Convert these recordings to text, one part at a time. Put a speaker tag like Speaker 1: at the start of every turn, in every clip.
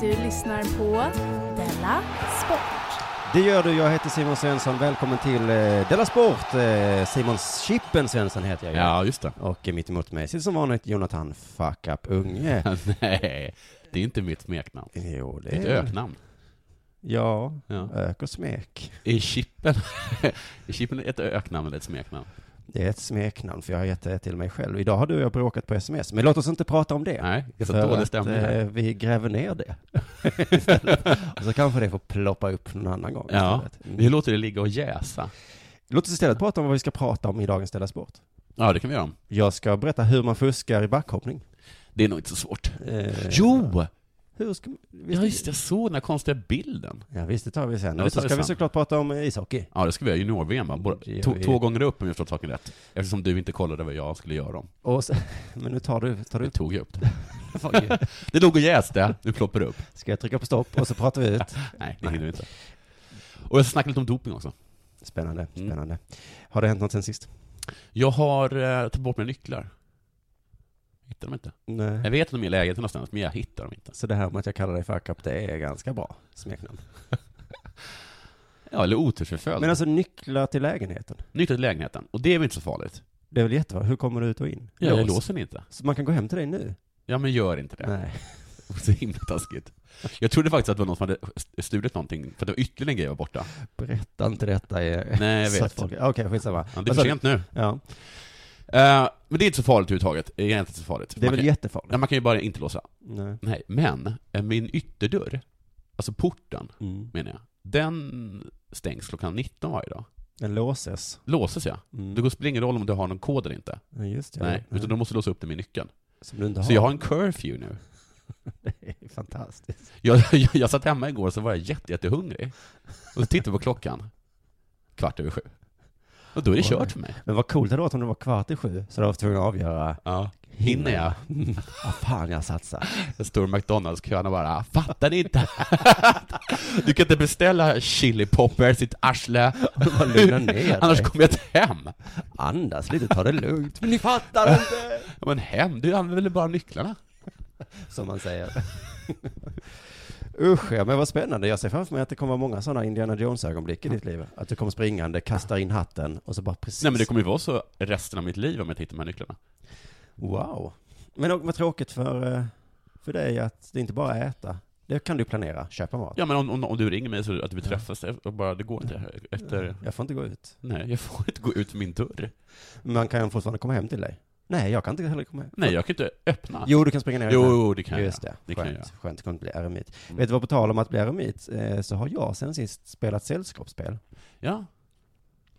Speaker 1: Du lyssnar på Della Sport.
Speaker 2: Det gör du, jag heter Simon Svensson, välkommen till eh, Della Sport! Eh, Simon Chippen Svensson heter jag ju.
Speaker 3: Ja, just det.
Speaker 2: Och eh, mitt emot mig sitter som vanligt Jonathan Fuck Up Unge.
Speaker 3: Nej, det är inte mitt smeknamn.
Speaker 2: Jo, det
Speaker 3: Det är ett
Speaker 2: är
Speaker 3: öknamn.
Speaker 2: Ja,
Speaker 3: Ja.
Speaker 2: ök och smek.
Speaker 3: Är Chippen, är Chippen ett öknamn eller ett smeknamn?
Speaker 2: Det är ett smeknamn, för jag har gett det till mig själv. Idag har du och jag bråkat på sms, men låt oss inte prata om det.
Speaker 3: Nej, det är så
Speaker 2: För
Speaker 3: dålig
Speaker 2: att,
Speaker 3: stämning
Speaker 2: eh,
Speaker 3: här.
Speaker 2: vi gräver ner det. Istället. och så kanske det får ploppa upp någon annan gång.
Speaker 3: Ja,
Speaker 2: istället. Mm.
Speaker 3: vi låter det ligga och jäsa.
Speaker 2: Låt oss istället prata om vad vi ska prata om i dagens Della Sport.
Speaker 3: Ja, det kan vi göra.
Speaker 2: Jag ska berätta hur man fuskar i backhoppning.
Speaker 3: Det är nog inte så svårt.
Speaker 2: Eh,
Speaker 3: Jo!
Speaker 2: Hur ska man...
Speaker 3: Ja, just det, jag såg den här konstiga bilden.
Speaker 2: Ja visst, det tar vi sen.
Speaker 3: Ja,
Speaker 2: och
Speaker 3: det
Speaker 2: så
Speaker 3: tar vi
Speaker 2: ska vi
Speaker 3: sen.
Speaker 2: såklart prata om eh, ishockey.
Speaker 3: Ja, det ska vi göra. Junior-VM, va? Båda-
Speaker 2: Det gör
Speaker 3: två-
Speaker 2: vi.
Speaker 3: Två gånger upp, om jag förstått saken rätt. Eftersom du inte kollade vad jag skulle göra om.
Speaker 2: Och sen, men nu tar du, tar du
Speaker 3: Det tog jag upp det. Fuck you. Det låg och jäste, nu ploppar det upp.
Speaker 2: Ska jag trycka på stopp och så pratar vi ut?
Speaker 3: Nej, det hinner vi inte. Och jag ska snacka lite om doping också.
Speaker 2: Spännande,
Speaker 3: Mm.
Speaker 2: spännande. Har det hänt något sen sist?
Speaker 3: Jag har eh, tagit bort mina nycklar. Hittar dem
Speaker 2: Mm.
Speaker 3: inte. Jag
Speaker 2: Nej.
Speaker 3: vet att de är i lägenheten någonstans, men jag hittar dem inte.
Speaker 2: Så det här med att jag kallar dig fuck up, det är ganska bra smeknamn.
Speaker 3: Ja, eller otursförföljd.
Speaker 2: Men alltså nycklar till lägenheten,
Speaker 3: Nycklar till lägenheten. Och det är väl inte så farligt?
Speaker 2: det är väl jättebra? Hur kommer du ut och in?
Speaker 3: Ja, jag
Speaker 2: Lås.
Speaker 3: låser den inte.
Speaker 2: Så man kan gå hem till dig nu?
Speaker 3: Ja, men gör inte det.
Speaker 2: Nej.
Speaker 3: Så himla taskigt. Jag trodde faktiskt att det var någon som hade st- stulit någonting, för att det var ytterligare en grej var borta.
Speaker 2: Berätta inte detta i...
Speaker 3: Nej, jag vet.
Speaker 2: så att folk- Okej, skitsamma.
Speaker 3: Ja, det är för
Speaker 2: Vad sa du?
Speaker 3: sent nu.
Speaker 2: Ja,
Speaker 3: Eh, men det är inte så farligt överhuvudtaget. Det är inte så farligt.
Speaker 2: det är
Speaker 3: man,
Speaker 2: väl
Speaker 3: kan,
Speaker 2: jättefarligt?
Speaker 3: ja, man kan ju bara inte låsa.
Speaker 2: Nej.
Speaker 3: Nej, men eh, min ytterdörr, alltså porten,
Speaker 2: Mm.
Speaker 3: menar jag, den stängs klockan 19 varje dag.
Speaker 2: Den låses.
Speaker 3: Låses jag.
Speaker 2: Mm.
Speaker 3: Det spelar ingen roll om du har någon kod eller inte.
Speaker 2: Ja, just det.
Speaker 3: Nej, utan du måste låsa upp den med nyckeln.
Speaker 2: Som du inte har.
Speaker 3: Så jag har en curfew nu.
Speaker 2: Det är fantastiskt.
Speaker 3: Jag, jag, jag satt hemma igår och så var jag jätte, jättehungrig. Och så tittade jag på klockan. Kvart över sju. Och då är det
Speaker 2: Oj.
Speaker 3: kört för mig.
Speaker 2: Men vad coolt det hade varit om det var kvart i sju, så du var tvungen att avgöra.
Speaker 3: Ja. Hinner jag?
Speaker 2: ah, fan, jag satsar.
Speaker 3: Jag står i McDonalds-kön och bara, fattar ni inte? du kan inte beställa chili poppers, sitt arsle.
Speaker 2: Bara lugna ner
Speaker 3: Annars
Speaker 2: dig.
Speaker 3: kommer jag inte hem.
Speaker 2: Andas lite, ta det lugnt. Men ni fattar inte!
Speaker 3: Ja, Men hem? Du använder väl bara nycklarna?
Speaker 2: Som man säger. Usch ja, men vad spännande. Jag ser framför mig att det kommer vara många sådana Indiana Jones-ögonblick i ditt liv. Att du kommer springande, kastar in hatten och så bara precis.
Speaker 3: Nej men det kommer ju vara så resten av mitt liv om jag inte hittar de här nycklarna.
Speaker 2: Wow. Men och, vad tråkigt för, eh, för dig att det inte bara är äta. Det kan du planera, köpa mat.
Speaker 3: Ja men om, om, om du ringer mig så att vi träffas och bara, det går inte efter...
Speaker 2: Jag får inte gå ut.
Speaker 3: Nej, jag får inte gå ut min dörr.
Speaker 2: Man kan fortfarande komma hem till dig. Nej, jag kan inte heller komma hem.
Speaker 3: Nej, jag kan inte öppna.
Speaker 2: Jo, du kan springa ner
Speaker 3: Jo,
Speaker 2: här.
Speaker 3: jo, det kan jag
Speaker 2: Just det.
Speaker 3: göra. Det kan jag
Speaker 2: skönt.
Speaker 3: Mm. göra.
Speaker 2: Skönt, det kommer inte bli eremit. Vet du vad, på tal om att bli eremit, eh, så har jag sen sist spelat sällskapsspel.
Speaker 3: Ja,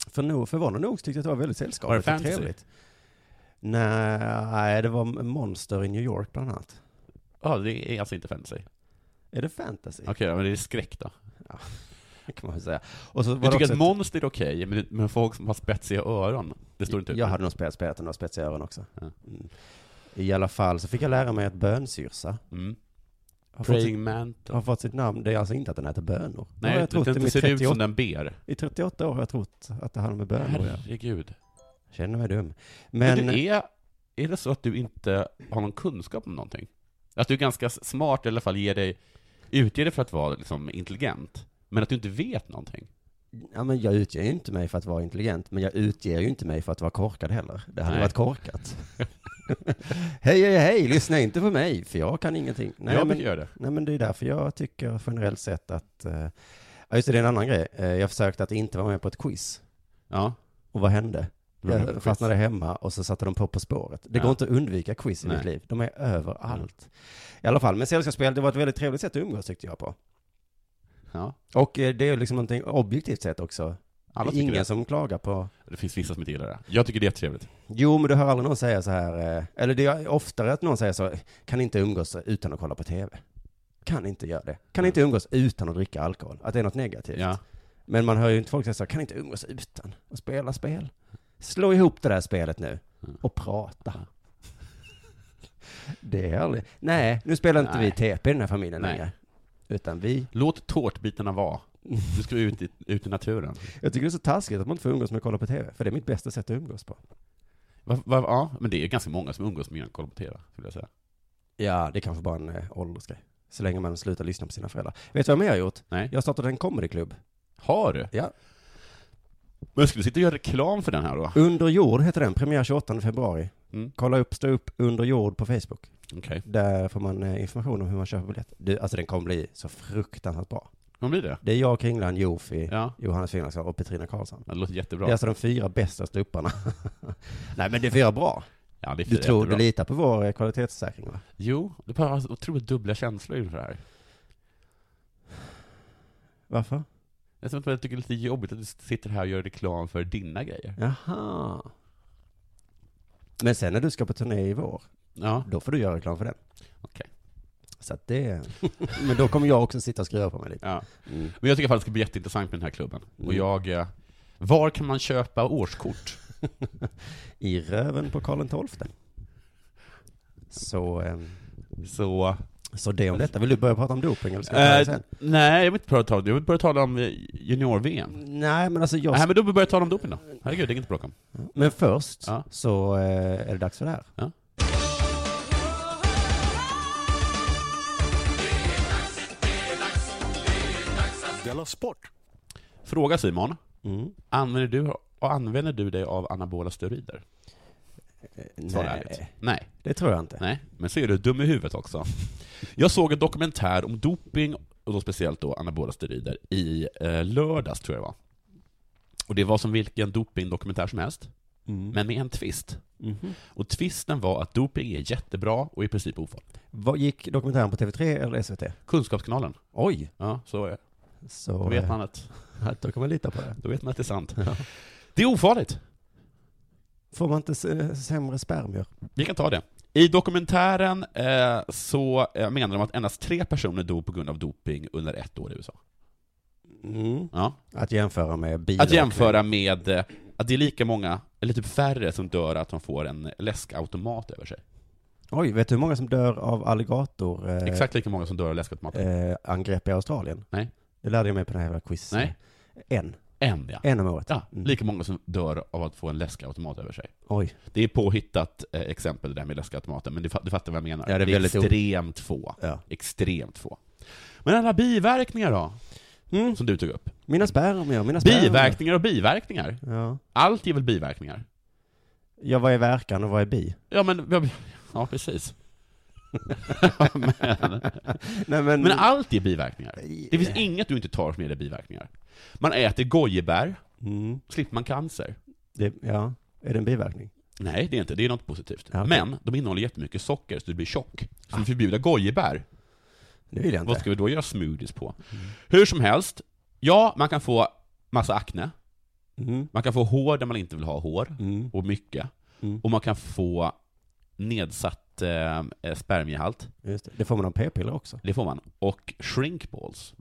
Speaker 2: För nog, förvånande nog så tyckte jag att det var väldigt
Speaker 3: Var det
Speaker 2: sällskapligt och
Speaker 3: fantasy?
Speaker 2: trevligt. Nej, det var Monster i New York bland annat.
Speaker 3: ja det är alltså inte fantasy. Okej,
Speaker 2: Är det fantasy?
Speaker 3: då, men det är skräck då.
Speaker 2: Kan man väl säga. Och så var
Speaker 3: Jag
Speaker 2: det
Speaker 3: tycker
Speaker 2: också
Speaker 3: att
Speaker 2: ett-
Speaker 3: monster är okej, men, men folk som har spetsiga öron, det står inte ut
Speaker 2: Jag
Speaker 3: med.
Speaker 2: hade nog spelat, spelat några spetsiga öron också.
Speaker 3: Ja.
Speaker 2: Mm. I alla fall så fick jag lära mig att bönsyrsa
Speaker 3: Mm.
Speaker 2: har fått, sitt,
Speaker 3: Praying mantis.
Speaker 2: har fått sitt namn. Det är alltså inte att den äter bönor. Det har
Speaker 3: Nej,
Speaker 2: jag trott
Speaker 3: det,
Speaker 2: i
Speaker 3: det
Speaker 2: mitt
Speaker 3: ser ut
Speaker 2: 38
Speaker 3: som den ber.
Speaker 2: I 38 år har jag trott att det handlar med bönor. Jag
Speaker 3: Herregud.
Speaker 2: känner mig dum.
Speaker 3: Men,
Speaker 2: Men,
Speaker 3: du är, är det så att du inte har någon kunskap om någonting? Att du är ganska smart, i alla fall ger dig, utger dig för att vara liksom intelligent, men att du inte vet någonting.
Speaker 2: Ja men jag utger ju inte mig för att vara intelligent, men jag utger ju inte mig för att vara korkad heller. Det hade
Speaker 3: Nej.
Speaker 2: varit korkat. hej, hej, hej, lyssna inte på mig, för jag kan ingenting.
Speaker 3: Nej, jag
Speaker 2: men,
Speaker 3: men... gör det.
Speaker 2: nej men det är därför jag tycker generellt sett att, eh, ja just det, det är en annan grej. Eh, jag försökte att inte vara med på ett quiz.
Speaker 3: Ja.
Speaker 2: Och vad hände?
Speaker 3: Var det
Speaker 2: Jag
Speaker 3: quiz?
Speaker 2: fastnade hemma och så satte de på På spåret. Det
Speaker 3: Ja.
Speaker 2: går inte att undvika quiz i
Speaker 3: Nej.
Speaker 2: mitt liv. De är överallt. I alla fall, men sällskapsspel, det var ett väldigt trevligt sätt att umgås tyckte jag på.
Speaker 3: ja.
Speaker 2: Och eh, det är liksom någonting objektivt sett också.
Speaker 3: Alla
Speaker 2: det
Speaker 3: tycker
Speaker 2: är ingen
Speaker 3: det.
Speaker 2: som klagar på
Speaker 3: Det finns vissa som inte gillar det. Jag tycker det är trevligt.
Speaker 2: Jo, men du hör aldrig någon säga så här, eh, eller det är oftare att någon säger så, kan inte umgås utan att kolla på TV. Kan inte göra det. Kan inte umgås utan att dricka alkohol. Att det är något negativt.
Speaker 3: Ja.
Speaker 2: Men man hör ju inte folk säga så, kan inte umgås utan att spela spel. Slå ihop det där spelet nu och prata. Det är aldrig, nej, nu spelar inte
Speaker 3: Nej.
Speaker 2: vi TP i den här familjen
Speaker 3: Nej.
Speaker 2: längre. Utan vi,
Speaker 3: Låt tårtbitarna vara. Du ska ut i, ut i naturen.
Speaker 2: jag tycker det är så taskigt att man inte får umgås med att kolla på TV, för det är mitt bästa sätt att umgås på.
Speaker 3: Va, va, ja, men det är ganska många som umgås med att kolla på TV, skulle jag säga.
Speaker 2: Ja, det är kanske bara en eh, åldersgrej. Så länge man slutar lyssna på sina föräldrar. Vet du vad mer jag har gjort?
Speaker 3: Nej.
Speaker 2: Jag startade en comedyklubb.
Speaker 3: Har du?
Speaker 2: Ja.
Speaker 3: Men skulle du sitta och göra reklam för den här då?
Speaker 2: Under jord heter den, premiär 28 februari.
Speaker 3: Mm.
Speaker 2: Kolla upp, stå upp under jord på Facebook.
Speaker 3: Okej.
Speaker 2: Där får man eh, information om hur man köper biljett. Du, alltså den kommer bli så fruktansvärt bra.
Speaker 3: Vad blir det?
Speaker 2: Det är jag, Kringland, Jofi,
Speaker 3: Ja.
Speaker 2: Johannes Finlandsson och Petrina Karlsson.
Speaker 3: Ja, Det låter jättebra.
Speaker 2: Det är alltså de fyra bästa ståupparna. Nej men det är fyra bra.
Speaker 3: ja, det är
Speaker 2: Du tror,
Speaker 3: jättebra.
Speaker 2: du litar på vår eh, kvalitetssäkring va?
Speaker 3: Jo, det behövs otroligt dubbla känslor inför det här.
Speaker 2: Varför?
Speaker 3: Jag tror att jag tycker det är lite jobbigt att du sitter här och gör reklam för dina grejer.
Speaker 2: Jaha. Men sen när du ska på turné i vår,
Speaker 3: Ja.
Speaker 2: då får du göra reklam för den.
Speaker 3: Okej.
Speaker 2: Så att det... Men då kommer jag också sitta och skruva på mig lite.
Speaker 3: ja.
Speaker 2: Mm.
Speaker 3: Men jag tycker i alla fall att det ska bli jätteintressant med den här klubben. Och
Speaker 2: Mm.
Speaker 3: jag... eh, Var kan man köpa årskort?
Speaker 2: I röven på Karl XII. Så, eh,
Speaker 3: Så...
Speaker 2: så det om detta. Vill du börja prata om doping eller ska jag ta det
Speaker 3: Eh,
Speaker 2: sen?
Speaker 3: nej, jag vill inte prata om det. Jag vill börja tala om eh, junior-VM.
Speaker 2: Nej men alltså jag...
Speaker 3: Nej, men då börjar jag tala om doping då. Herregud, det är inget bråk om.
Speaker 2: Men först
Speaker 3: Ja.
Speaker 2: så eh, är det dags för det här.
Speaker 3: Ja.
Speaker 4: Della Sport!
Speaker 3: Fråga Simon.
Speaker 2: Mm.
Speaker 3: Använder du, och använder du dig av anabola steroider? Svara ärligt.
Speaker 2: Nej,
Speaker 3: Nej.
Speaker 2: det tror jag inte.
Speaker 3: Nej, men så är du dum i huvudet också. Jag såg en dokumentär om doping, och då speciellt då anabola steroider, i eh, lördags tror jag det var. Och det var som vilken dopingdokumentär som helst,
Speaker 2: Mm.
Speaker 3: men med en twist.
Speaker 2: Mhm.
Speaker 3: Och twisten var att doping är jättebra och i princip ofarligt.
Speaker 2: Vad gick dokumentären på TV3 eller SVT?
Speaker 3: Kunskapskanalen.
Speaker 2: Oj!
Speaker 3: Ja, så är det.
Speaker 2: Så...
Speaker 3: Då vet
Speaker 2: eh,
Speaker 3: man att,
Speaker 2: Då kan man lita på det.
Speaker 3: då vet man att det är sant. Det är ofarligt.
Speaker 2: Får man inte se- sämre spermier?
Speaker 3: Vi kan ta det. I dokumentären eh, så eh, menar de att endast tre personer dog på grund av doping under ett år i USA.
Speaker 2: Mm.
Speaker 3: Ja.
Speaker 2: Att jämföra med bilar.
Speaker 3: Att jämföra med eh, att det är lika många, eller typ färre, som dör att de får en läskautomat över sig.
Speaker 2: Oj, vet du hur många som dör av alligator? Eh,
Speaker 3: Exakt lika många som dör av läskautomater.
Speaker 2: eh, angrepp i Australien?
Speaker 3: Nej.
Speaker 2: Det lärde jag mig på den här jävla quiz.
Speaker 3: Nej.
Speaker 2: En.
Speaker 3: En ja.
Speaker 2: En om året.
Speaker 3: ja.
Speaker 2: Mm.
Speaker 3: Lika många som dör av att få en läskautomat över sig.
Speaker 2: Oj.
Speaker 3: Det är påhittat eh, exempel det där med läskautomaten, men du, fa- du fattar vad jag menar.
Speaker 2: Ja, det är väldigt o-
Speaker 3: extremt få.
Speaker 2: Ja.
Speaker 3: Extremt få. Men alla biverkningar då,
Speaker 2: Mm.
Speaker 3: som du tog upp?
Speaker 2: Mina spermier, mina spermier.
Speaker 3: Biverkningar och biverkningar.
Speaker 2: Ja.
Speaker 3: Allt är väl biverkningar?
Speaker 2: ja, vad är verkan och vad är bi?
Speaker 3: Ja, men... ja, Ja, precis. men,
Speaker 2: Nej men...
Speaker 3: men allt är biverkningar. Det finns inget du inte tar som ger dig biverkningar. Man äter gojebär,
Speaker 2: mm.
Speaker 3: slipper man cancer.
Speaker 2: det, ja. Är det en biverkning?
Speaker 3: Nej, det är inte. Det är något positivt.
Speaker 2: Ja, okej. Ah.
Speaker 3: Men de innehåller jättemycket socker, så du blir tjock. Så vi förbjuder gojebär.
Speaker 2: Det vill jag inte.
Speaker 3: Vad ska vi då göra smoothies på?
Speaker 2: Mm.
Speaker 3: Hur som helst, ja, man kan få massa akne.
Speaker 2: Mm.
Speaker 3: Man kan få hår där man inte vill ha hår,
Speaker 2: Mm.
Speaker 3: och mycket.
Speaker 2: Mm.
Speaker 3: Och man kan få nedsatt eh, eh, spermiehalt.
Speaker 2: Just det. det får man av p-piller också.
Speaker 3: Det får man. Och shrinkballs.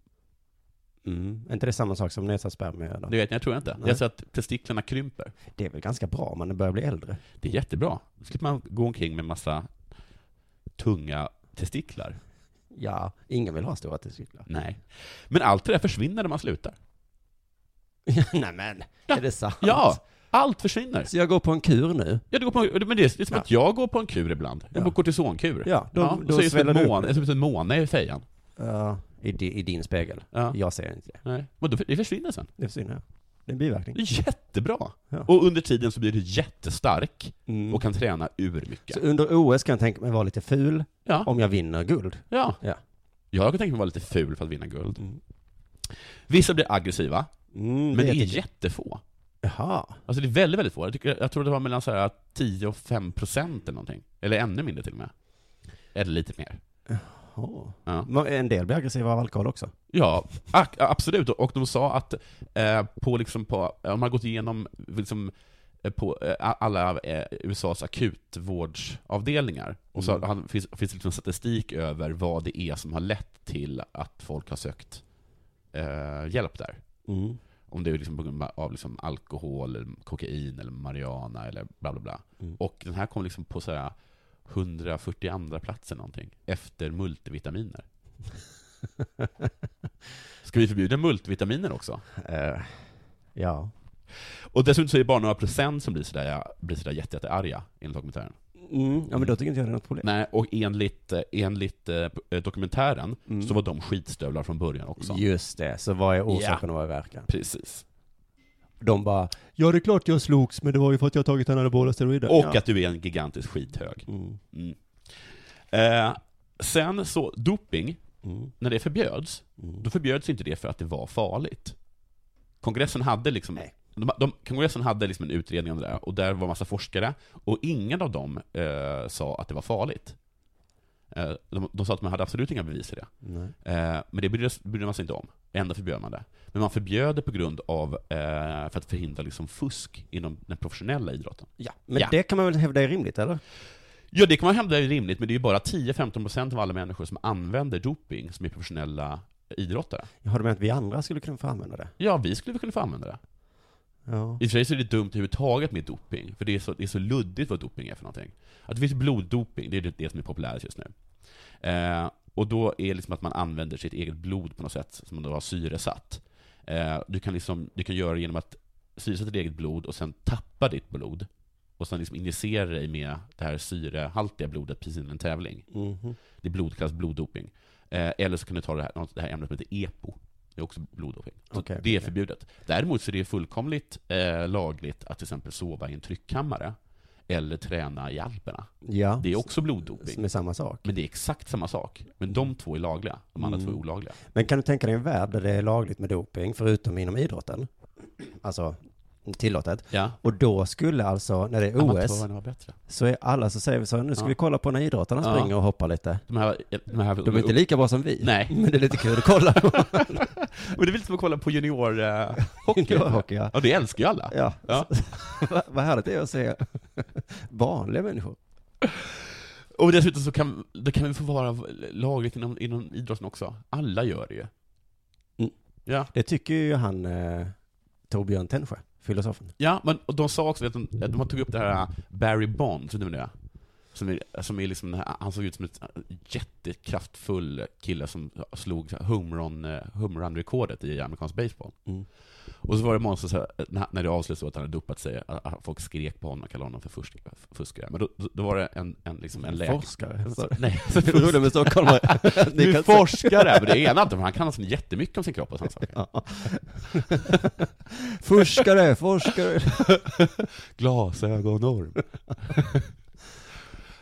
Speaker 2: Mm. Är inte det samma sak som nedsatt spermier? då?
Speaker 3: Det vet ni, jag tror jag inte. Det är
Speaker 2: Nej.
Speaker 3: så att testiklarna krymper.
Speaker 2: Det är väl ganska bra om man börjar bli äldre?
Speaker 3: Det är jättebra. Då slipper man gå omkring med massa tunga testiklar.
Speaker 2: Ja, ingen vill ha stora testiklar.
Speaker 3: Nej. Men allt det där försvinner när man slutar.
Speaker 2: Nej men, är det sant?
Speaker 3: Ja! Allt försvinner.
Speaker 2: Så jag går på en kur nu.
Speaker 3: Ja, det går på, men det är, det är som att jag går på en kur ibland. Jag går på kortisonkur.
Speaker 2: Ja, då- då
Speaker 3: så är det som
Speaker 2: sväller
Speaker 3: ett
Speaker 2: det
Speaker 3: måne, som ett måne i fejan.
Speaker 2: Ja. I, di- I din spegel.
Speaker 3: Ja.
Speaker 2: Jag ser inte det.
Speaker 3: Nej. Men då, det försvinner sen.
Speaker 2: Det försvinner. jag. Det är en biverkning.
Speaker 3: Det är jättebra.
Speaker 2: Ja.
Speaker 3: Och under tiden så blir du jättestark
Speaker 2: Mm.
Speaker 3: och kan träna ur
Speaker 2: Så
Speaker 3: mycket.
Speaker 2: under OS kan jag tänka mig vara lite ful
Speaker 3: Ja,
Speaker 2: om jag vinner guld.
Speaker 3: ja.
Speaker 2: Ja.
Speaker 3: Jag kan tänka mig vara lite ful för att vinna guld.
Speaker 2: Mm.
Speaker 3: Vissa blir aggressiva,
Speaker 2: Mm,
Speaker 3: men det är
Speaker 2: vet jag.
Speaker 3: jättefå.
Speaker 2: Jaha.
Speaker 3: Alltså det är väldigt, väldigt få. Jag, tycker, jag tror det var mellan så här 10 och 5 procent eller någonting. Eller ännu mindre till och med. Eller lite mer.
Speaker 2: Åh.
Speaker 3: Ja.
Speaker 2: Men En del blir aggressiva av alkohol också.
Speaker 3: Ja, ak- absolut. Och de sa att eh, på liksom på, om man gått igenom liksom, eh, på eh, alla eh, USAs akutvårdsavdelningar, och så
Speaker 2: Mm.
Speaker 3: han, finns, finns det liksom statistik över vad det är som har lett till att folk har sökt eh, hjälp där.
Speaker 2: Mm.
Speaker 3: Om det är liksom på grund av liksom alkohol, eller kokain, eller marijuana eller bla bla bla.
Speaker 2: Mm.
Speaker 3: Och den här kom liksom på så här 142 platser någonting, efter multivitaminer. Ska vi förbjuda multivitaminer också?
Speaker 2: Eh, ja.
Speaker 3: Och dessutom så är det bara några procent som blir sådär, blir sådär jätte, jättearga, enligt dokumentären.
Speaker 2: Mm. Ja men då tycker inte jag det är något problem.
Speaker 3: Nej, och enligt, eh, enligt eh, eh, dokumentären
Speaker 2: Mm.
Speaker 3: så var de skitstövlar från början också.
Speaker 2: Just det, så vad är orsaken och vad är verkan?
Speaker 3: Precis.
Speaker 2: De bara, ja det är klart jag slogs men det var ju för att jag tagit anabola steroider.
Speaker 3: Och
Speaker 2: ja.
Speaker 3: att du är en gigantisk skithög.
Speaker 2: Mm.
Speaker 3: Mm. Eh, sen så, doping,
Speaker 2: Mm.
Speaker 3: när det förbjöds,
Speaker 2: Mm.
Speaker 3: då förbjöds inte det för att det var farligt. Kongressen hade liksom,
Speaker 2: Nej.
Speaker 3: de, de, kongressen hade liksom en utredning om det där, och där var massa forskare, och ingen av dem eh, sa att det var farligt. Eh, de, de sa att man hade absolut inga bevis för det.
Speaker 2: Nej.
Speaker 3: Eh, men det brydde, brydde man sig inte om. Ändå förbjöd man det. Men man förbjöd det på grund av, eh, för att förhindra liksom fusk inom den professionella idrotten.
Speaker 2: Ja, men
Speaker 3: Ja.
Speaker 2: det kan man väl hävda är rimligt eller?
Speaker 3: Ja, det kan man hävda är rimligt, men det är ju bara 10-15% av alla människor som använder doping som är professionella idrottare.
Speaker 2: Har du menat att vi andra skulle kunna få använda det?
Speaker 3: Ja, vi skulle väl kunna få använda det.
Speaker 2: Ja.
Speaker 3: I och för sig så är det dumt överhuvudtaget med doping, för det är så, det är så luddigt vad doping är för någonting. Att det finns bloddoping, det är det, det som är populärt just nu. Eh, och då är det liksom att man använder sitt eget blod på något sätt, som man då har syresatt. Eh, du, kan liksom, du kan göra det genom att syresätta ditt eget blod och sen tappa ditt blod. Och sen liksom injicera dig med det här syrehaltiga blodet precis innan en tävling.
Speaker 2: Mhm.
Speaker 3: Det är blodklass bloddoping. Eh, eller så kan du ta det här, något- det här ämnet som heter EPO. Det är också bloddoping. Så
Speaker 2: Okej,
Speaker 3: det är
Speaker 2: okej.
Speaker 3: förbjudet. Däremot så är det fullkomligt eh, lagligt att till exempel sova i en tryckkammare. Eller träna i Alperna.
Speaker 2: Ja,
Speaker 3: Det är också bloddoping.
Speaker 2: med samma sak.
Speaker 3: Men det är exakt samma sak. Men de två är lagliga. De andra
Speaker 2: Mm.
Speaker 3: två är olagliga.
Speaker 2: Men kan du tänka dig en värld där det är lagligt med doping, förutom inom idrotten? Alltså, tillåtet.
Speaker 3: Ja.
Speaker 2: Och då skulle alltså, när det är OS,
Speaker 3: Amatörerna var bättre.
Speaker 2: så är alla som säger så, här, nu ska
Speaker 3: Ja.
Speaker 2: vi kolla på när idrottarna
Speaker 3: Ja.
Speaker 2: springer och hoppar lite.
Speaker 3: De här, eh, de här,
Speaker 2: De är inte lika bra som vi.
Speaker 3: Nej.
Speaker 2: Men det är lite kul att kolla på.
Speaker 3: Men det är väl som att kolla på juniorhockey? Eh, hockey.
Speaker 2: Juniorhockey, ja.
Speaker 3: ja, det älskar ju alla.
Speaker 2: Ja.
Speaker 3: Ja.
Speaker 2: Va- Vad härligt det är att se vanliga människor.
Speaker 3: Och dessutom så kan, det kan vi få vara lagligt inom, inom idrotten också. Alla gör det ju.
Speaker 2: Mm.
Speaker 3: Ja,
Speaker 2: Det tycker ju han eh, Torbjörn Tännsjö, filosofen.
Speaker 3: ja men och de sa också att de, att de tog upp det här eh, Barry Bonds, vet du vem det är? Som är, som är liksom, den här- han såg ut som ett eh, jättekraftfull kille som eh, slog homerun, eh, homerun-rekordet i amerikansk baseball.
Speaker 2: Mm.
Speaker 3: Och så var det många som sa, eh, när- när det avslutades så att han hade dopat sig, att att folk skrek på honom och kallade honom för fusk- eh, fuskare. Men då, då var det en, en, liksom en läkare...
Speaker 2: Forskare. Så.
Speaker 3: Nej,
Speaker 2: Det är roligt med stockholmare.
Speaker 3: Du
Speaker 2: Ni
Speaker 3: är
Speaker 2: kan
Speaker 3: forskare, men det ena inte, men han kan alltså jättemycket om sin kropp och sådana saker.
Speaker 2: se- Forskare, forskare.
Speaker 3: Glasögonorm.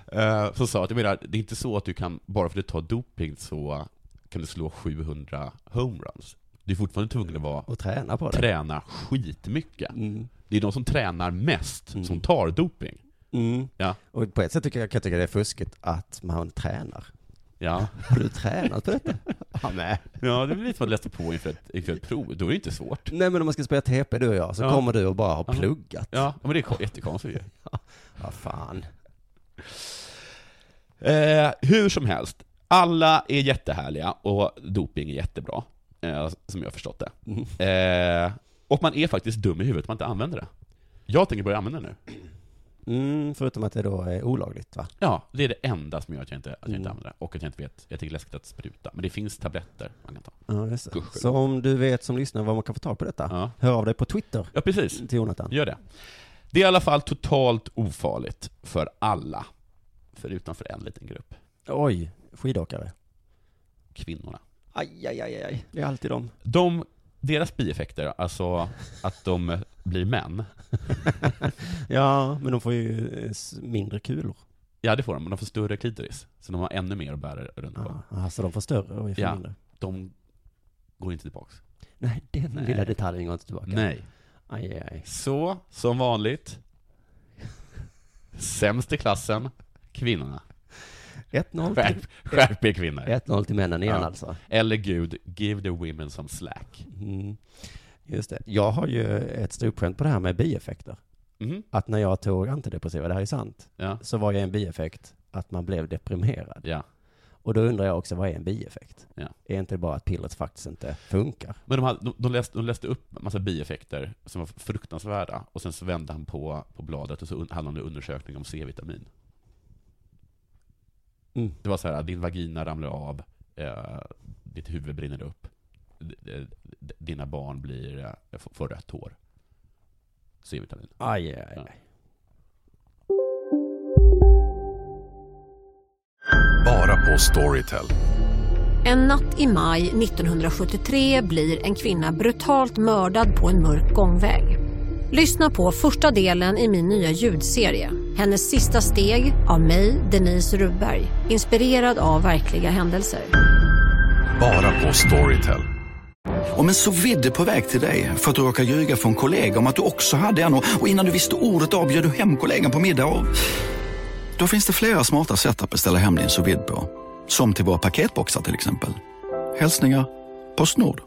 Speaker 3: Eh, Så sa att, jag menar, det är inte så att du kan, bara för att du tar doping så kan du slå 700 homeruns. Du är fortfarande tvungen att vara,
Speaker 2: Och träna på det.
Speaker 3: träna skitmycket.
Speaker 2: Mm.
Speaker 3: Det är de som tränar mest
Speaker 2: Mm.
Speaker 3: som tar doping.
Speaker 2: Mm.
Speaker 3: Ja.
Speaker 2: Och på ett sätt tycker jag, kan jag tycka det är fuskigt att man tränar.
Speaker 3: Ja,
Speaker 2: Har du tränat på detta? ja, nej.
Speaker 3: ja det är lite vad jag läste på inför ett, inför ett prov, då är det inte svårt.
Speaker 2: Nej men om man ska spela TP du och jag, så
Speaker 3: Ja.
Speaker 2: kommer du och bara har
Speaker 3: Ja.
Speaker 2: pluggat.
Speaker 3: Ja, men det är ko- jättekonstigt ju.
Speaker 2: Vad fan.
Speaker 3: Eh, hur som helst, alla är jättehärliga och doping är jättebra, eh, som jag har förstått det. Eh, och man är faktiskt dum i huvudet om man inte använder det. Jag tänker börja använda det nu.
Speaker 2: Mm, förutom att det då är olagligt va?
Speaker 3: Ja, det är det enda som gör att jag inte, att jag inte
Speaker 2: Mm.
Speaker 3: använder det. Och att jag inte vet, jag tycker det är läskigt att spruta. Men det finns tabletter man kan ta.
Speaker 2: Ja, just det.
Speaker 3: Gudskelov.
Speaker 2: Så om du vet som lyssnar vad man kan få tag på detta,
Speaker 3: Ja,
Speaker 2: hör av dig på Twitter
Speaker 3: ja precis.
Speaker 2: till Jonathan.
Speaker 3: Gör det. Det är i alla fall totalt ofarligt för alla. Förutom för en liten grupp.
Speaker 2: Oj, skidåkare.
Speaker 3: Kvinnorna.
Speaker 2: Aj, aj, aj, aj. Det är alltid dem.
Speaker 3: De, deras bieffekter, alltså att de blir män,
Speaker 2: Ja, men de får ju eh, s- mindre kulor.
Speaker 3: ja det får de, men de får större klitoris. Så de har ännu mer att bära runt på.
Speaker 2: Ja, alltså de får större och är för
Speaker 3: Ja.
Speaker 2: mindre.
Speaker 3: De går inte tillbaks.
Speaker 2: Nej, den
Speaker 3: Nej.
Speaker 2: lilla detaljen går inte tillbaka.
Speaker 3: Nej.
Speaker 2: Aj, aj, aj.
Speaker 3: Så, som vanligt. Sämst i klassen, kvinnorna.
Speaker 2: 1-0 till,
Speaker 3: Skärp, skärp er kvinnor.
Speaker 2: 1-0 till männen igen
Speaker 3: Ja.
Speaker 2: alltså.
Speaker 3: Eller gud, give the women some slack.
Speaker 2: Mm. Just det. Jag har ju ett ståuppskämt på det här med bieffekter.
Speaker 3: Mhm,
Speaker 2: Att när jag tog antidepressiva, det här är sant,
Speaker 3: ja.
Speaker 2: så var jag en bieffekt att man blev deprimerad.
Speaker 3: ja.
Speaker 2: Och då undrar jag också, vad är en bieffekt?
Speaker 3: Ja.
Speaker 2: Är inte det bara att pillret faktiskt inte funkar?
Speaker 3: Men de, hade, de, de, läste, de läste upp en massa bieffekter som var fruktansvärda, och sen så vände han på, på bladet och så un- handlade det om en undersökning om C-vitamin.
Speaker 2: Mm.
Speaker 3: Det var så här, din vagina ramlar av, eh, ditt huvud brinner upp, d- d- d- dina barn blir, eh, får- får rött hår. C-vitamin.
Speaker 2: Aj, aj, aj.
Speaker 3: Ja.
Speaker 5: Bara på Storytel.
Speaker 6: En natt i maj 1973 blir en kvinna brutalt mördad på en mörk gångväg. Lyssna på första delen i min nya ljudserie. Hennes sista steg av mig, Denise Rubberg. Inspirerad av verkliga händelser.
Speaker 5: Bara på Storytel.
Speaker 7: Om en så vidde på väg till dig för att du råkar ljuga från kollega om att du också hade en och och innan du visste ordet av bjöd du hem kollegan på middag och... Då finns det flera smarta sätt att beställa hem din sous vide på. Som till våra paketboxar till exempel. Hälsningar Postnord.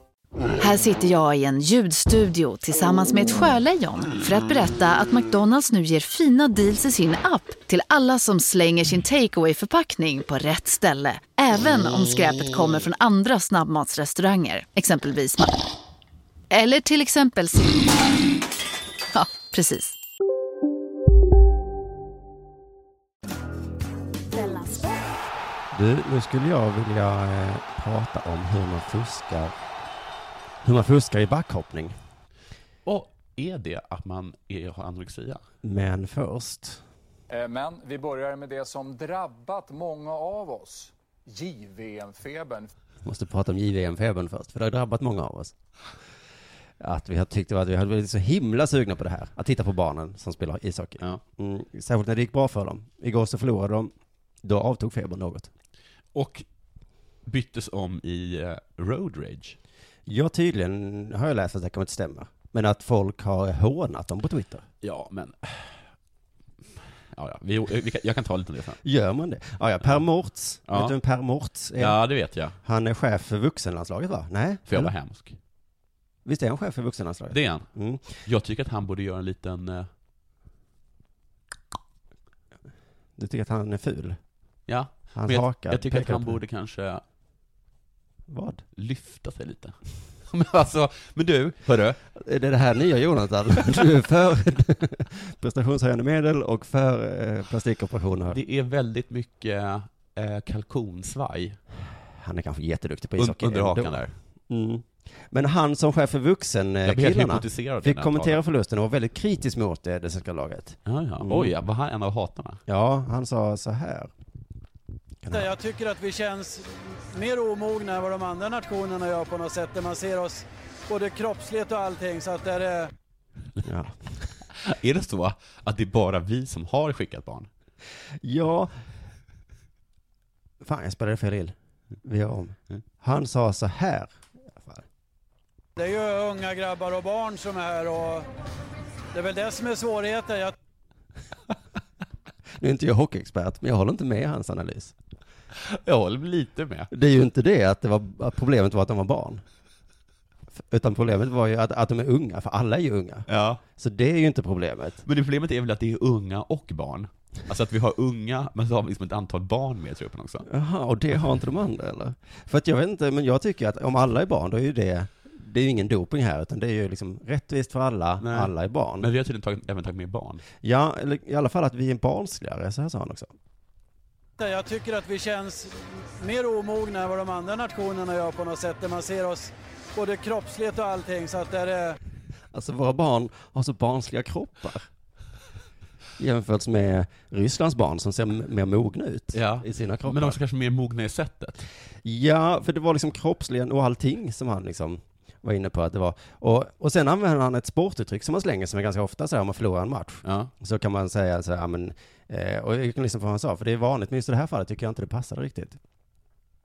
Speaker 8: Här sitter jag i en ljudstudio tillsammans med ett sjölejon för att berätta att McDonalds nu ger fina deals i sin app till alla som slänger sin takeaway förpackning på rätt ställe. Även om skräpet kommer från andra snabbmatsrestauranger, exempelvis Ma- Eller till exempel Sim- Ja, precis.
Speaker 1: Della Sport.
Speaker 2: Du, nu skulle jag vilja eh, prata om hur man fuskar, hur man fuskar i backhoppning.
Speaker 3: Och är det att man är, har anorexia?
Speaker 2: Men först,
Speaker 7: Eh, Men vi börjar med det som drabbat många av oss. JVM-febern.
Speaker 2: måste prata om JVM-febern först, för det har drabbat många av oss. Att vi har tyckt att vi har blivit så himla sugna på det här, att titta på barnen som spelar ishockey.
Speaker 3: Ja.
Speaker 2: Mm, särskilt när det gick bra för dem. Igår så förlorade de, då avtog febern något.
Speaker 3: Och byttes om i eh, road rage.
Speaker 2: Ja, tydligen har jag läst att det kommer inte stämma. Men att folk har hånat dem på Twitter.
Speaker 3: Ja, men... Ja, ja. Vi, vi kan, jag kan ta lite om det sen.
Speaker 2: Gör man det? Ah, Ja, ja Per Mortz.
Speaker 3: Ja.
Speaker 2: Vet du vem Per Mortz är?
Speaker 3: Ja, det vet jag.
Speaker 2: Han är chef för vuxenlandslaget va? Nej?
Speaker 3: För jag var
Speaker 2: Eller?
Speaker 3: hemsk.
Speaker 2: Visst är han chef för vuxenlandslaget?
Speaker 3: Det är han.
Speaker 2: Mm.
Speaker 3: Jag tycker att han borde göra en liten... eh,
Speaker 2: Du tycker att han är ful?
Speaker 3: Ja,
Speaker 2: Hans
Speaker 3: men jag,
Speaker 2: haka
Speaker 3: jag tycker att
Speaker 2: pekar
Speaker 3: han
Speaker 2: upp.
Speaker 3: borde kanske
Speaker 2: Vad?
Speaker 3: lyfta sig lite. Men alltså, men du, hörru.
Speaker 2: Är det det här nya Jonathan? Du är för prestationshöjande medel och för eh, plastikoperationer.
Speaker 3: Det är väldigt mycket eh, kalkonsvaj
Speaker 2: Han är kanske jätteduktig på
Speaker 3: un-
Speaker 2: ishockey.
Speaker 3: under hakan
Speaker 2: ändå.
Speaker 3: där.
Speaker 2: Mm. Men han som chef för
Speaker 3: Jag blir helt
Speaker 2: vuxenkillarna
Speaker 3: hypnotiserad. av den
Speaker 2: fick
Speaker 3: här
Speaker 2: kommentera förlusten och var väldigt kritisk mot eh, det svenska laget.
Speaker 3: talen. Ja, ja.
Speaker 2: Mm.
Speaker 3: Oj, ja, var han en av hatarna?
Speaker 2: Ja, han sa så här.
Speaker 7: Jag tycker att vi känns mer omogna än vad de andra nationerna gör på något sätt. Där man ser oss både kroppsligt och allting. Så att det är...
Speaker 2: Ja,
Speaker 3: Är det så att det är bara vi som har skickat barn?
Speaker 2: ja. fan jag spelade fel ill. Vi gör om. Han sa så här. i alla fall.
Speaker 7: Det är ju unga grabbar och barn som är här och det är väl det som är svårigheten. Jag
Speaker 2: Nu är inte jag hockeyexpert, men jag håller inte med hans analys.
Speaker 3: Jag håller lite med.
Speaker 2: Det är ju inte det att, det var, att problemet var att de var barn. F- Utan problemet var ju att, att de är unga, för alla är ju unga.
Speaker 3: Ja.
Speaker 2: Så det är ju inte problemet.
Speaker 3: Men det problemet är väl att det är unga och barn? Alltså att vi har unga, men så har vi liksom ett antal barn med i truppen också.
Speaker 2: Jaha, och det har inte de andra eller? För att jag vet inte, men jag tycker att om alla är barn, då är ju det, det är ju ingen doping här, utan det är ju liksom rättvist för alla,
Speaker 3: Nej.
Speaker 2: alla är barn.
Speaker 3: Men vi har tydligen tagit, även tagit med barn.
Speaker 2: Ja, eller i alla fall att vi är barnsligare, så här sa han också.
Speaker 9: Jag tycker att vi känns mer omogna än vad de andra nationerna gör på något sätt. Där man ser oss både kroppsligt och allting. Så att där är...
Speaker 2: Alltså våra barn har så barnsliga kroppar. Jämfört med Rysslands barn som ser m- mer mogna ut i sina kroppar.
Speaker 3: Men också kanske mer mogna i sättet.
Speaker 2: Ja, för det var liksom kroppsligen och allting som han liksom var inne på att det var. Och, och sen använder han ett sportuttryck som man slänger som är ganska ofta så här om man förlorar en match. Så kan man säga så här, ja, men, eh, och jag kan lyssna på vad han sa, för det är vanligt, men just i det här fallet tycker jag inte det passade riktigt.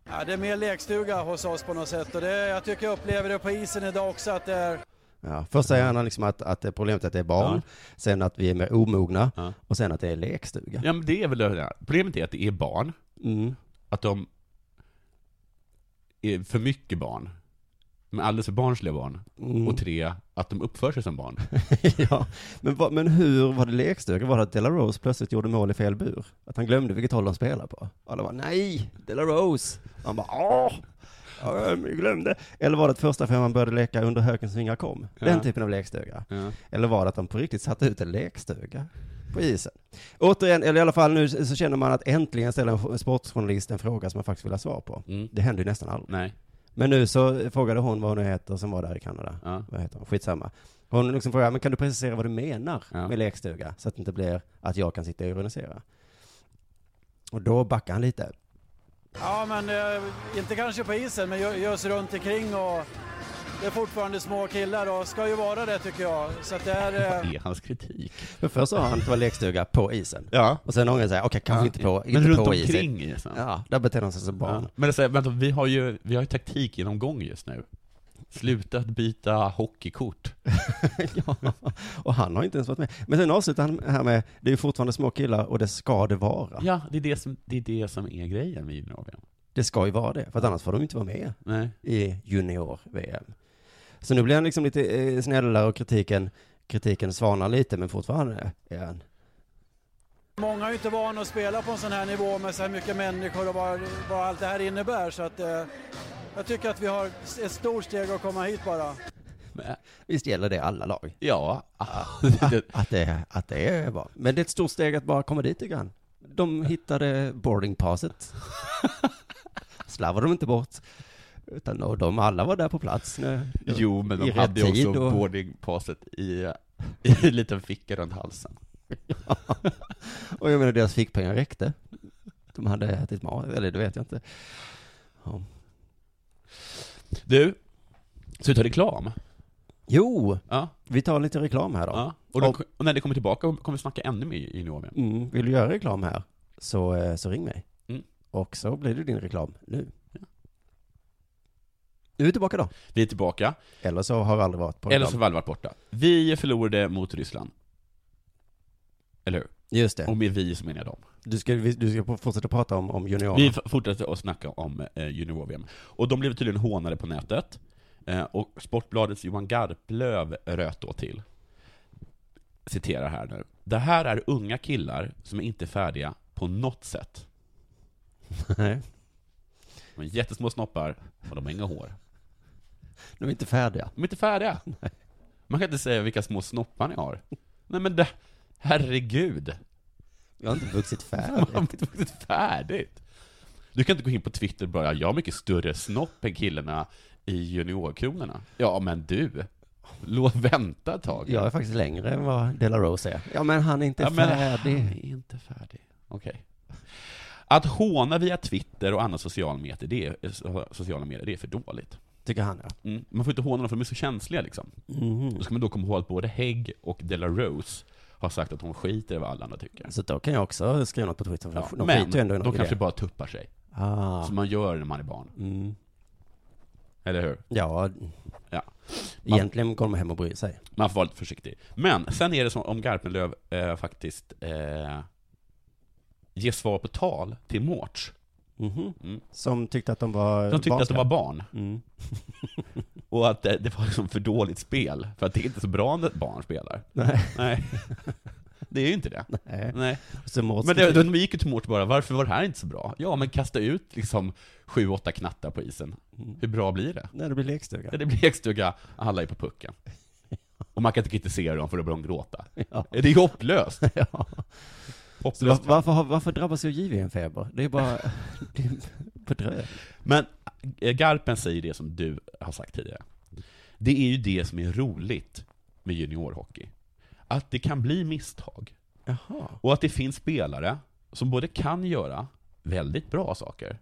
Speaker 9: Ja, det är mer lekstuga hos oss på något sätt. Och det, jag tycker jag upplever det på isen idag också att det är...
Speaker 2: Ja, först säger han liksom att, att det är problemet att det är barn, sen att vi är mer omogna, och sen att det är lekstuga. Mm.
Speaker 3: Ja, men det är väl det. här. Problemet är att det är barn. Att de är för mycket barn. Men alldeles för barnsliga barn.
Speaker 2: Mm.
Speaker 3: Och tre, att de uppför sig som barn.
Speaker 2: ja, men, vad- men hur var det lekstuga? Var det att Delarose plötsligt gjorde mål i fel bur? Att han glömde vilket håll de spelar på? Alla bara, nej, Delarose! Han bara, åh! ja, Jag glömde. Eller var det att första femman började leka under hökens vingar kom? Den
Speaker 3: Ja.
Speaker 2: typen av lekstuga.
Speaker 3: Ja.
Speaker 2: Eller var det att de på riktigt satte ut en lekstuga på isen? Återigen, eller i alla fall nu så känner man att äntligen ställer en f- en sportjournalist en fråga som man faktiskt vill ha svar på. Det händer ju nästan aldrig. Men nu så frågade hon vad hon heter som var där i Kanada. Vad heter hon? Skitsamma. Hon liksom frågade, men kan du precisera vad du menar med lekstuga? Så att det inte blir att jag kan sitta och ironisera. Och då backar han lite.
Speaker 9: Ja, men eh, inte kanske på isen, men ju- just runt omkring och det är fortfarande små killar och ska ju vara det tycker jag. Så att det är... eh,
Speaker 3: är hans kritik?
Speaker 2: För först sa han att det var lekstuga på isen. Och sen ångrade han sig, okej kanske
Speaker 3: Ja.
Speaker 2: inte på,
Speaker 3: Men
Speaker 2: inte
Speaker 3: runt
Speaker 2: på
Speaker 3: omkring liksom.
Speaker 2: isen.
Speaker 3: isen.
Speaker 2: Ja, där beter de sig som barn.
Speaker 3: Ja. Men alltså, vänta, vi har ju, vi har ju taktik genom gång just nu. Sluta att byta hockeykort.
Speaker 2: Och han har inte ens varit med. Men sen avslutar han här med, det är ju fortfarande små killar och det ska det vara.
Speaker 3: Ja, det är det som, det är, det som är grejen med junior-VM.
Speaker 2: Det ska ju vara det, för att annars får de inte vara med
Speaker 3: Nej.
Speaker 2: i junior-VM. Så nu blir han liksom lite eh, snällare och kritiken, kritiken svalnar lite, men fortfarande är han...
Speaker 9: Många är ju inte vana att spela på en sån här nivå med så här mycket människor och vad, vad allt det här innebär. Så att, eh, jag tycker att vi har ett stort steg att komma hit bara.
Speaker 2: Visst gäller det alla lag?
Speaker 3: Ja.
Speaker 2: att, det, att det är bra. Men det är ett stort steg att bara komma dit, tycker han. De hittade boardingpasset. Slarvade de inte bort. Utan och de alla var där på plats. när-
Speaker 3: Jo, men de
Speaker 2: i rätt
Speaker 3: hade ju
Speaker 2: tid
Speaker 3: också
Speaker 2: och-
Speaker 3: boardingpasset i, i en liten ficka runt halsen.
Speaker 2: Och jag menar deras fickpengar räckte. De hade ätit mat, eller det vet jag inte. Ja.
Speaker 3: Du, så vi tar reklam?
Speaker 2: Jo,
Speaker 3: vi
Speaker 2: tar lite reklam här då.
Speaker 3: Och, då, och när det kommer tillbaka kommer vi snacka ännu mer junior-VM.
Speaker 2: Mm, vill du göra reklam här så, eh, så ring mig.
Speaker 3: Mm.
Speaker 2: Och så blir det din reklam nu. Nu är vi tillbaka då.
Speaker 3: Vi är tillbaka.
Speaker 2: Eller så har vi aldrig varit på
Speaker 3: Eller
Speaker 2: reklam.
Speaker 3: så var vi varit borta. Vi förlorade mot Ryssland. Eller hur?
Speaker 2: Just det.
Speaker 3: Och med vi så menar jag dem.
Speaker 2: Du ska, vi- du ska fortsätta prata om, om juniorer.
Speaker 3: Vi f- fortsatte att snacka om eh, junior-VM. Och de blev tydligen hånade på nätet. Eh, och Sportbladets Johan Garplöv röt då till. Citerar här nu. Det här är unga killar som är inte färdiga på något sätt.
Speaker 2: Nej.
Speaker 3: De har jättesmå snoppar och de har inga hår.
Speaker 2: De är inte färdiga.
Speaker 3: De är inte färdiga. Man kan inte säga vilka små snoppar ni har. Nej men det, herregud.
Speaker 2: Jag har inte vuxit
Speaker 3: färdigt. Jag har inte vuxit färdigt. Du kan inte gå in på Twitter och bara, jag har mycket större snopp än killarna i juniorkronorna. Ja men du, låt vänta ett tag.
Speaker 2: Jag är faktiskt längre än vad De La Rose är. Ja, men han är inte
Speaker 3: Ja, men
Speaker 2: färdig.
Speaker 3: han är inte färdig. Okej. Att håna via Twitter och andra sociala medier, det är, so- sociala medier, det är för dåligt.
Speaker 2: Tycker han, ja.
Speaker 3: Mm. Man får inte håna dem för de är så känsliga liksom.
Speaker 2: Mhm.
Speaker 3: Då ska man då komma ihåg att både Hägg och De La Rose har sagt att hon skiter i vad alla andra tycker.
Speaker 2: Så då kan jag också skriva något på Twitter. för
Speaker 3: Ja,
Speaker 2: de
Speaker 3: men
Speaker 2: skiter ju ändå i
Speaker 3: de
Speaker 2: något i
Speaker 3: kanske
Speaker 2: det.
Speaker 3: bara tuppar sig.
Speaker 2: Ah. Mm.
Speaker 3: Som man gör när man är barn. Eller hur?
Speaker 2: Ja.
Speaker 3: ja.
Speaker 2: Egentligen går de hem och bryr sig.
Speaker 3: Man får vara lite försiktig. Men sen är det som om Garpenlöv eh, faktiskt eh, ger svar på tal till Mårts.
Speaker 2: Mhm.
Speaker 3: Mm.
Speaker 2: Som tyckte att de var
Speaker 3: De tyckte att de
Speaker 2: barnsliga.
Speaker 3: var barn.
Speaker 2: Mm.
Speaker 3: Och att eh, det, det var liksom för dåligt spel, för att det är inte så bra när ett barn spelar.
Speaker 2: Nej.
Speaker 3: Nej. Det är ju inte det.
Speaker 2: Nej.
Speaker 3: Nej.
Speaker 2: Så Mårts-
Speaker 3: Men det, de gick ju till Mårts bara, varför var det här inte så bra? Ja, men kasta ut liksom sju, åtta knattar på isen. Hur bra blir det?
Speaker 2: Mm. Nej, det blir lekstuga.
Speaker 3: Ja, det blir lekstuga, alla är på pucken. Och man kan inte kritisera dem för då börjar de gråta.
Speaker 2: Ja.
Speaker 3: Det är ju hopplöst.
Speaker 2: Så var, varför, har- varför drabbas jag av JVM-feber? Det är bara... det är på dröm.
Speaker 3: Men eh, Garpen säger det som du har sagt tidigare. Det är ju det som är roligt med juniorhockey. Att det kan bli misstag.
Speaker 2: Jaha.
Speaker 3: Och att det finns spelare som både kan göra väldigt bra saker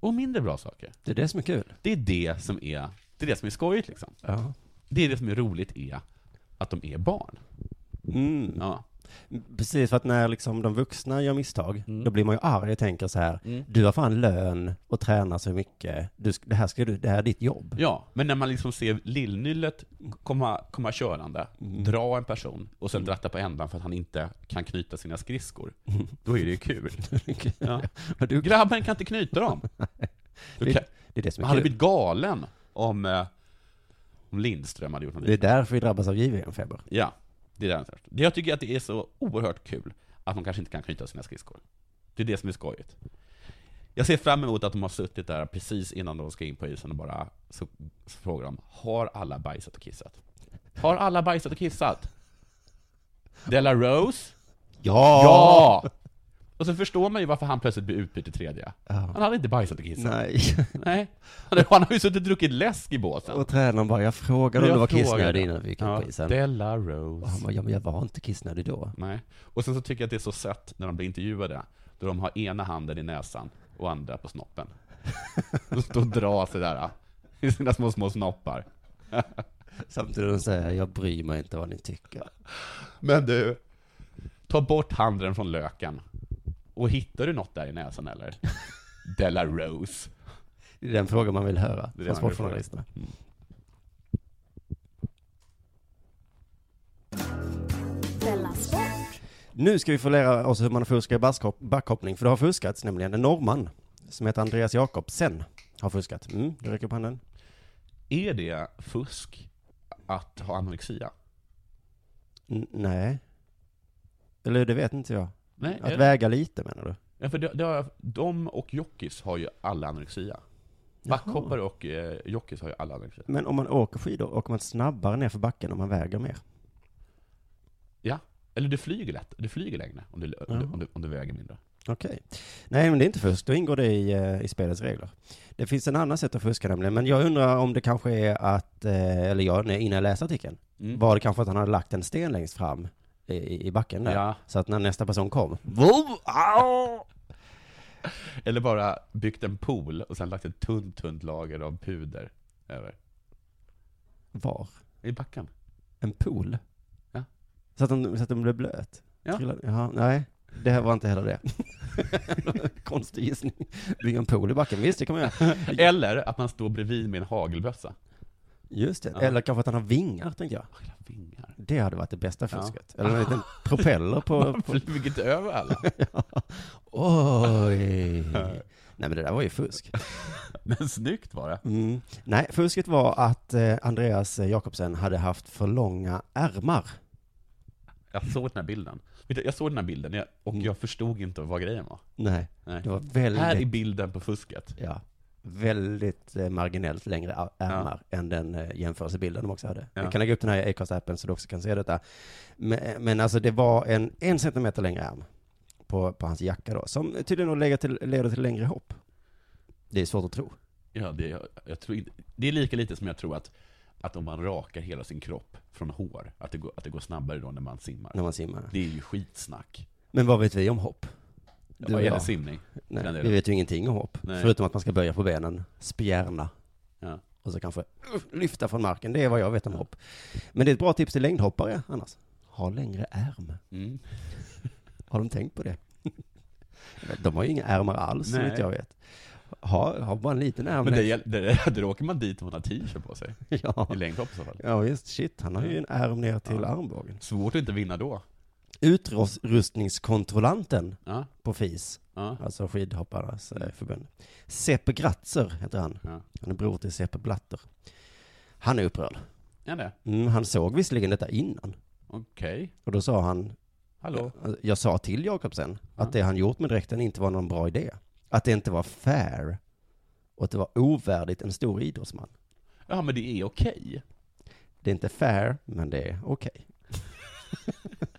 Speaker 3: och mindre bra saker.
Speaker 2: Mm. Det är det som är kul.
Speaker 3: Det är det som är, det är, det som är skojigt liksom.
Speaker 2: Ja.
Speaker 3: Det är det som är roligt är att de är barn.
Speaker 2: Mm.
Speaker 3: Ja.
Speaker 2: Precis, för att när liksom de vuxna gör misstag, då blir man ju arg och tänker så här,
Speaker 3: Mm.
Speaker 2: du har fan lön och tränar så mycket, du, sk- det, här ska du, det här är ditt jobb.
Speaker 3: Ja, men när man liksom ser lillnyllet komma, komma körande, dra en person och sen dratta på ändan för att han inte kan knyta sina skridskor, då är det ju kul. Ja. Grabben kan inte knyta dem. Du
Speaker 2: Det-
Speaker 3: kan-
Speaker 2: det är det som är
Speaker 3: Han hade
Speaker 2: kul.
Speaker 3: blivit galen om, eh, om Lindström hade gjort något
Speaker 2: Det är därför vi drabbas av JVM-feber.
Speaker 3: Ja, det är det. jag har hört. Det jag tycker att det är så oerhört kul att de kanske inte kan knyta sina skridskor. Det är det som är skojigt. Jag ser fram emot att de har suttit där precis innan de ska in på isen och bara så, så frågar de Har alla bajsat och kissat? Har alla bajsat och kissat? Della Rose?
Speaker 2: Ja!
Speaker 3: Ja! Och så förstår man ju varför han plötsligt blir utbytt i tredje. Han hade inte bajsat och kissat.
Speaker 2: Nej.
Speaker 3: Nej. Han har- han har ju suttit och druckit läsk i båsen.
Speaker 2: Och tränaren bara, jag frågade om
Speaker 3: Jag
Speaker 2: du var
Speaker 3: frågade.
Speaker 2: kissnödig innan vi gick
Speaker 3: Ja,
Speaker 2: upp på isen.
Speaker 3: Della Rose.
Speaker 2: Och han bara, ja men jag var inte kissnödig då.
Speaker 3: Nej. Och sen så tycker jag att det är så sött när de blir intervjuade, då de har ena handen i näsan och andra på snoppen. De står och drar sig där ah, i sina små, små snoppar.
Speaker 2: Samtidigt de säger, jag bryr mig inte vad ni tycker.
Speaker 3: Men du, ta bort handen från löken. Och hittar du något där i näsan eller? Della Rose.
Speaker 2: Det är den frågan man vill höra
Speaker 3: Det är det man vill Mm.
Speaker 2: från sportjournalisterna.
Speaker 1: Della Sport.
Speaker 2: Nu ska vi få lära oss hur man fuskar i baskhop- backhoppning, för det har fuskats nämligen. En norrman som heter Andreas Jakobsen har fuskat. Mm, du räcker upp handen.
Speaker 3: Är det fusk att ha anorexia?
Speaker 2: N- nej. Eller det vet inte jag.
Speaker 3: Nej, är
Speaker 2: att
Speaker 3: det-
Speaker 2: väga lite menar du?
Speaker 3: Ja, för det, det har, de och jockeys har ju alla anorexia. Backhoppare och eh, jockeys har ju alla anorexia.
Speaker 2: Men om man åker skidor, åker man snabbare ner för backen om man väger mer?
Speaker 3: Ja, eller du flyger lätt, du flyger längre om du, om du, om du, om du väger mindre.
Speaker 2: Okej. Nej, men det är inte fusk. Då ingår det i, eh, i spelets regler. Det finns en annan sätt att fuska nämligen, men jag undrar om det kanske är att, eh, eller jag, när- innan jag läste artikeln,
Speaker 3: Mm.
Speaker 2: var det kanske att han hade lagt en sten längst fram i, i backen där.
Speaker 3: Ja.
Speaker 2: Så att när nästa person kom,
Speaker 3: Eller bara byggt en pool och sen lagt ett tunt, tunt lager av puder över.
Speaker 2: var?
Speaker 3: I backen.
Speaker 2: En pool?
Speaker 3: Ja.
Speaker 2: Så att den, så att den blev blöt?
Speaker 3: Ja.
Speaker 2: Trillade- Jaha, nej. Det här var inte heller det. Konstig gissning. Bygga en pool i backen, visst det kan man göra.
Speaker 3: Eller att man står bredvid med en hagelbössa.
Speaker 2: Just det.
Speaker 3: Ja.
Speaker 2: Eller kanske att han har vingar, tänkte jag.
Speaker 3: Vingar.
Speaker 2: Det hade varit det bästa
Speaker 3: Ja.
Speaker 2: fusket. Eller en liten propeller på...
Speaker 3: Man
Speaker 2: på...
Speaker 3: flyger inte över alla.
Speaker 2: Oj! Nej men det där var ju fusk.
Speaker 3: Men snyggt var det.
Speaker 2: Mm. Nej, fusket var att eh, Andreas Jakobsen hade haft för långa ärmar.
Speaker 3: Jag såg den här bilden. Vet du, Jag såg den här bilden jag- och jag förstod inte vad grejen var.
Speaker 2: Nej,
Speaker 3: Nej.
Speaker 2: det var väldigt...
Speaker 3: Här är bilden på fusket.
Speaker 2: Ja. Väldigt eh, marginellt längre ar- ärmar än den eh, jämförelsebilden de också hade.
Speaker 3: Ja.
Speaker 2: Jag kan lägga upp den här i Acast-appen så du också kan se detta. Men, men alltså det var en en centimeter längre ärm på, på hans jacka då, som tydligen då lägger till, leder till längre hopp. Det är svårt att tro.
Speaker 3: Ja, det, jag, jag tror inte, det är lika lite som jag tror att, att om man rakar hela sin kropp från hår, att det går, att det går snabbare då när man simmar.
Speaker 2: När man simmar.
Speaker 3: Det är ju skitsnack.
Speaker 2: Men vad vet vi om hopp?
Speaker 3: Ja,
Speaker 2: Du
Speaker 3: vad
Speaker 2: och
Speaker 3: gäller
Speaker 2: jag.
Speaker 3: simning,
Speaker 2: Nej,
Speaker 3: den delen.
Speaker 2: vi vet ju ingenting om hopp.
Speaker 3: Nej.
Speaker 2: Förutom att man ska böja på benen, spjärna.
Speaker 3: Ja.
Speaker 2: Och så kanske uh, lyfta från marken. Det är vad jag vet om hopp. Men det är ett bra tips till längdhoppare annars. Ha längre ärm.
Speaker 3: Mm.
Speaker 2: Har de tänkt på det? De har ju inga ärmar alls, så
Speaker 3: Nej.
Speaker 2: vitt jag vet. Ha, ha bara en liten ärm.
Speaker 3: Men det,
Speaker 2: längst-
Speaker 3: gäll- det, det, då åker man dit om man har t-shirt på sig.
Speaker 2: Ja.
Speaker 3: I längdhopp i så fall.
Speaker 2: Ja visst, shit, han har ju en ärm ner till
Speaker 3: Ja.
Speaker 2: armbågen.
Speaker 3: Svårt att inte vinna då.
Speaker 2: Utrustningskontrollanten
Speaker 3: Ja.
Speaker 2: på FIS,
Speaker 3: Ja.
Speaker 2: alltså skidhopparnas eh, förbund. Seppe Gratzer heter han.
Speaker 3: Ja.
Speaker 2: Han är bror till Seppe Blatter. Han är upprörd.
Speaker 3: Är det?
Speaker 2: Mm, han såg visserligen detta innan.
Speaker 3: Okej.
Speaker 2: Och då sa han,
Speaker 3: Hallå?
Speaker 2: Jag sa till Jakobsen att det han gjort med dräkten inte var någon bra idé. Att det inte var fair. Och att det var ovärdigt en stor idrottsman.
Speaker 3: Ja, men det är okej.
Speaker 2: Det är inte fair, men det är okej.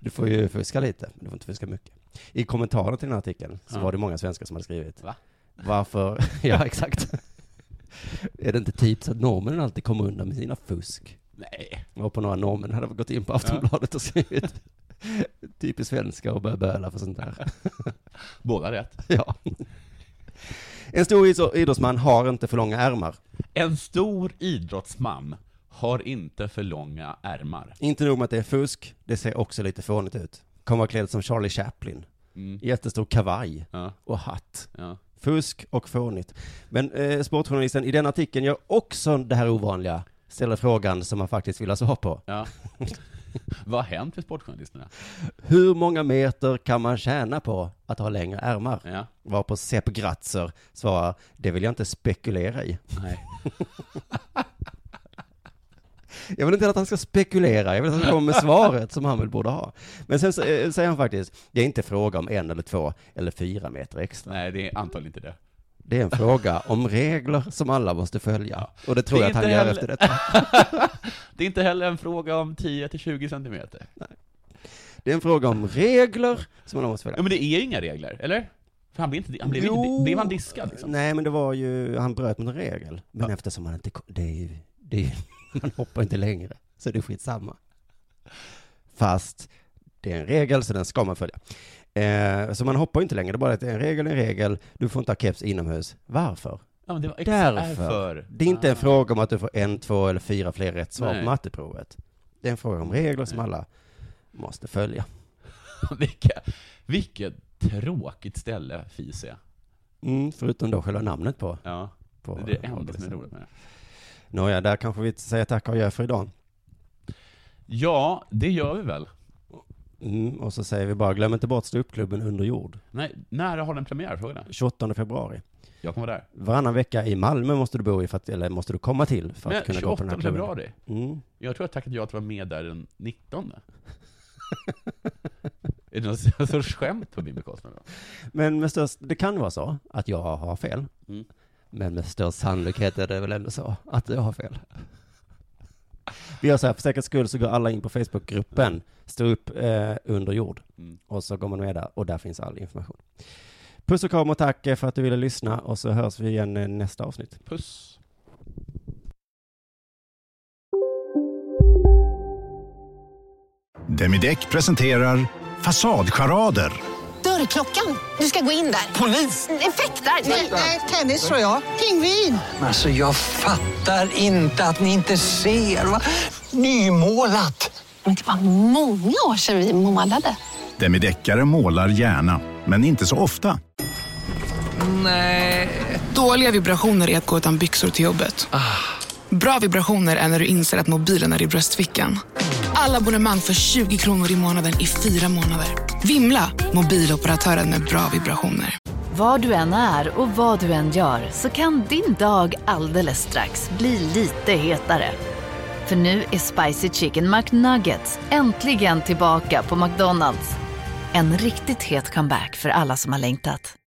Speaker 2: du får ju fuska lite, men du får inte fuska mycket. I kommentarerna till den här artikeln så
Speaker 3: Ja.
Speaker 2: var det många svenskar som hade skrivit.
Speaker 3: Va?
Speaker 2: Varför? ja, exakt. är det inte tips att norrmännen alltid kommer undan med sina fusk?
Speaker 3: Nej.
Speaker 2: Och på några norrmän hade gått in på Aftonbladet och skrivit typiskt svenska och börjat böla för sånt där.
Speaker 3: Båda rätt.
Speaker 2: ja. En stor idrotts- idrottsman har inte för långa ärmar.
Speaker 3: En stor idrottsman har inte för långa ärmar.
Speaker 2: Inte nog med att det är fusk, det ser också lite fånigt ut. Kommer vara klädd som Charlie Chaplin.
Speaker 3: Mm.
Speaker 2: Jättestor kavaj och hatt. Fusk och fånigt. Men eh, sportjournalisten i den artikeln gör också det här ovanliga, ställer frågan som man faktiskt vill ha svar på.
Speaker 3: Ja. Vad har hänt för sportjournalisterna?
Speaker 2: Hur många meter kan man tjäna på att ha längre ärmar?
Speaker 3: Ja.
Speaker 2: Varpå Sepp Gratzer svarar, det vill jag inte spekulera i.
Speaker 3: Nej.
Speaker 2: Jag vill inte att han ska spekulera, jag vill att han kommer med svaret som han väl borde ha. Men sen så, eh, säger han faktiskt, det är inte fråga om en eller två eller fyra meter extra.
Speaker 3: Nej, det är antagligen inte det.
Speaker 2: Det är en fråga om regler som alla måste följa. Och det tror
Speaker 3: Det är
Speaker 2: jag att han
Speaker 3: inte
Speaker 2: gör
Speaker 3: heller-
Speaker 2: efter detta.
Speaker 3: Det är inte heller en fråga om 10-20 centimeter.
Speaker 2: Det är en fråga om regler som alla måste följa.
Speaker 3: Ja, men det är ju inga regler, eller? För han blev inte, han blev,
Speaker 2: Jo.
Speaker 3: inte, blev han diskad liksom?
Speaker 2: Nej, men det var ju, han bröt mot en regel. Men eftersom han inte, ko- det är ju, det är ju, man hoppar inte längre, så det är skitsamma. Fast det är en regel, så den ska man följa. Eh, så man hoppar ju inte längre, det är bara att det är en regel, en regel, du får inte ha keps inomhus. Varför?
Speaker 3: Ja, men det var ex- därför.
Speaker 2: Det är inte en fråga om att du får en, två eller fyra fler rätt svar på
Speaker 3: Ah. Nej.
Speaker 2: matteprovet. Det är en fråga om regler som alla måste följa.
Speaker 3: Vilka, vilket tråkigt ställe FIS är.
Speaker 2: Mm, förutom då själva namnet på.
Speaker 3: Ja,
Speaker 2: på
Speaker 3: det är det enda som är roligt med det.
Speaker 2: Nåja, där kanske vi säger tack och gör för idag.
Speaker 3: Ja, det gör vi väl?
Speaker 2: Mm, och så säger vi bara, glöm inte bort ståuppklubben under jord.
Speaker 3: Nej, när har den premiär? Frågan
Speaker 2: 28 februari.
Speaker 3: Jag kommer vara där.
Speaker 2: Varannan vecka i Malmö måste du bo i, för att, eller måste du komma till för att
Speaker 3: Men
Speaker 2: kunna gå på den här
Speaker 3: 28
Speaker 2: klubben.
Speaker 3: februari?
Speaker 2: Mm.
Speaker 3: Jag tror jag tackade ja till att vara med där den 19. är det någon sorts skämt på min bekostnad då?
Speaker 2: Men med störst, det kan vara så att jag har fel.
Speaker 3: Mm.
Speaker 2: Men med störst sannolikhet är det väl ändå så att jag har fel. Vi gör så här, för säkerhets skull så går alla in på Facebookgruppen, står upp eh, under jord.
Speaker 3: Mm.
Speaker 2: Och så går man med där och där finns all information. Puss och kram och tack eh, för att du ville lyssna och så hörs vi igen eh, nästa avsnitt.
Speaker 3: Puss!
Speaker 10: Demideck presenterar Fasadcharader.
Speaker 11: Dörrklockan. Du ska gå in där. Polis? Effektar? Nej, tennis tror jag. Pingvin.
Speaker 12: Alltså jag fattar inte att ni inte ser. Va? Nymålat.
Speaker 13: Men det var många år sedan vi målade.
Speaker 10: Demideckare målar gärna, men inte så ofta.
Speaker 14: Nej. Dåliga vibrationer är att gå utan byxor till jobbet. Bra vibrationer är när du inser att mobilen är i bröstfickan. Alla abonnemang för 20 kronor i månaden i fyra månader. Vimla! Mobiloperatören med bra vibrationer.
Speaker 8: Var du än är och vad du än gör så kan din dag alldeles strax bli lite hetare. För nu är Spicy Chicken McNuggets äntligen tillbaka på McDonalds. En riktigt het comeback för alla som har längtat.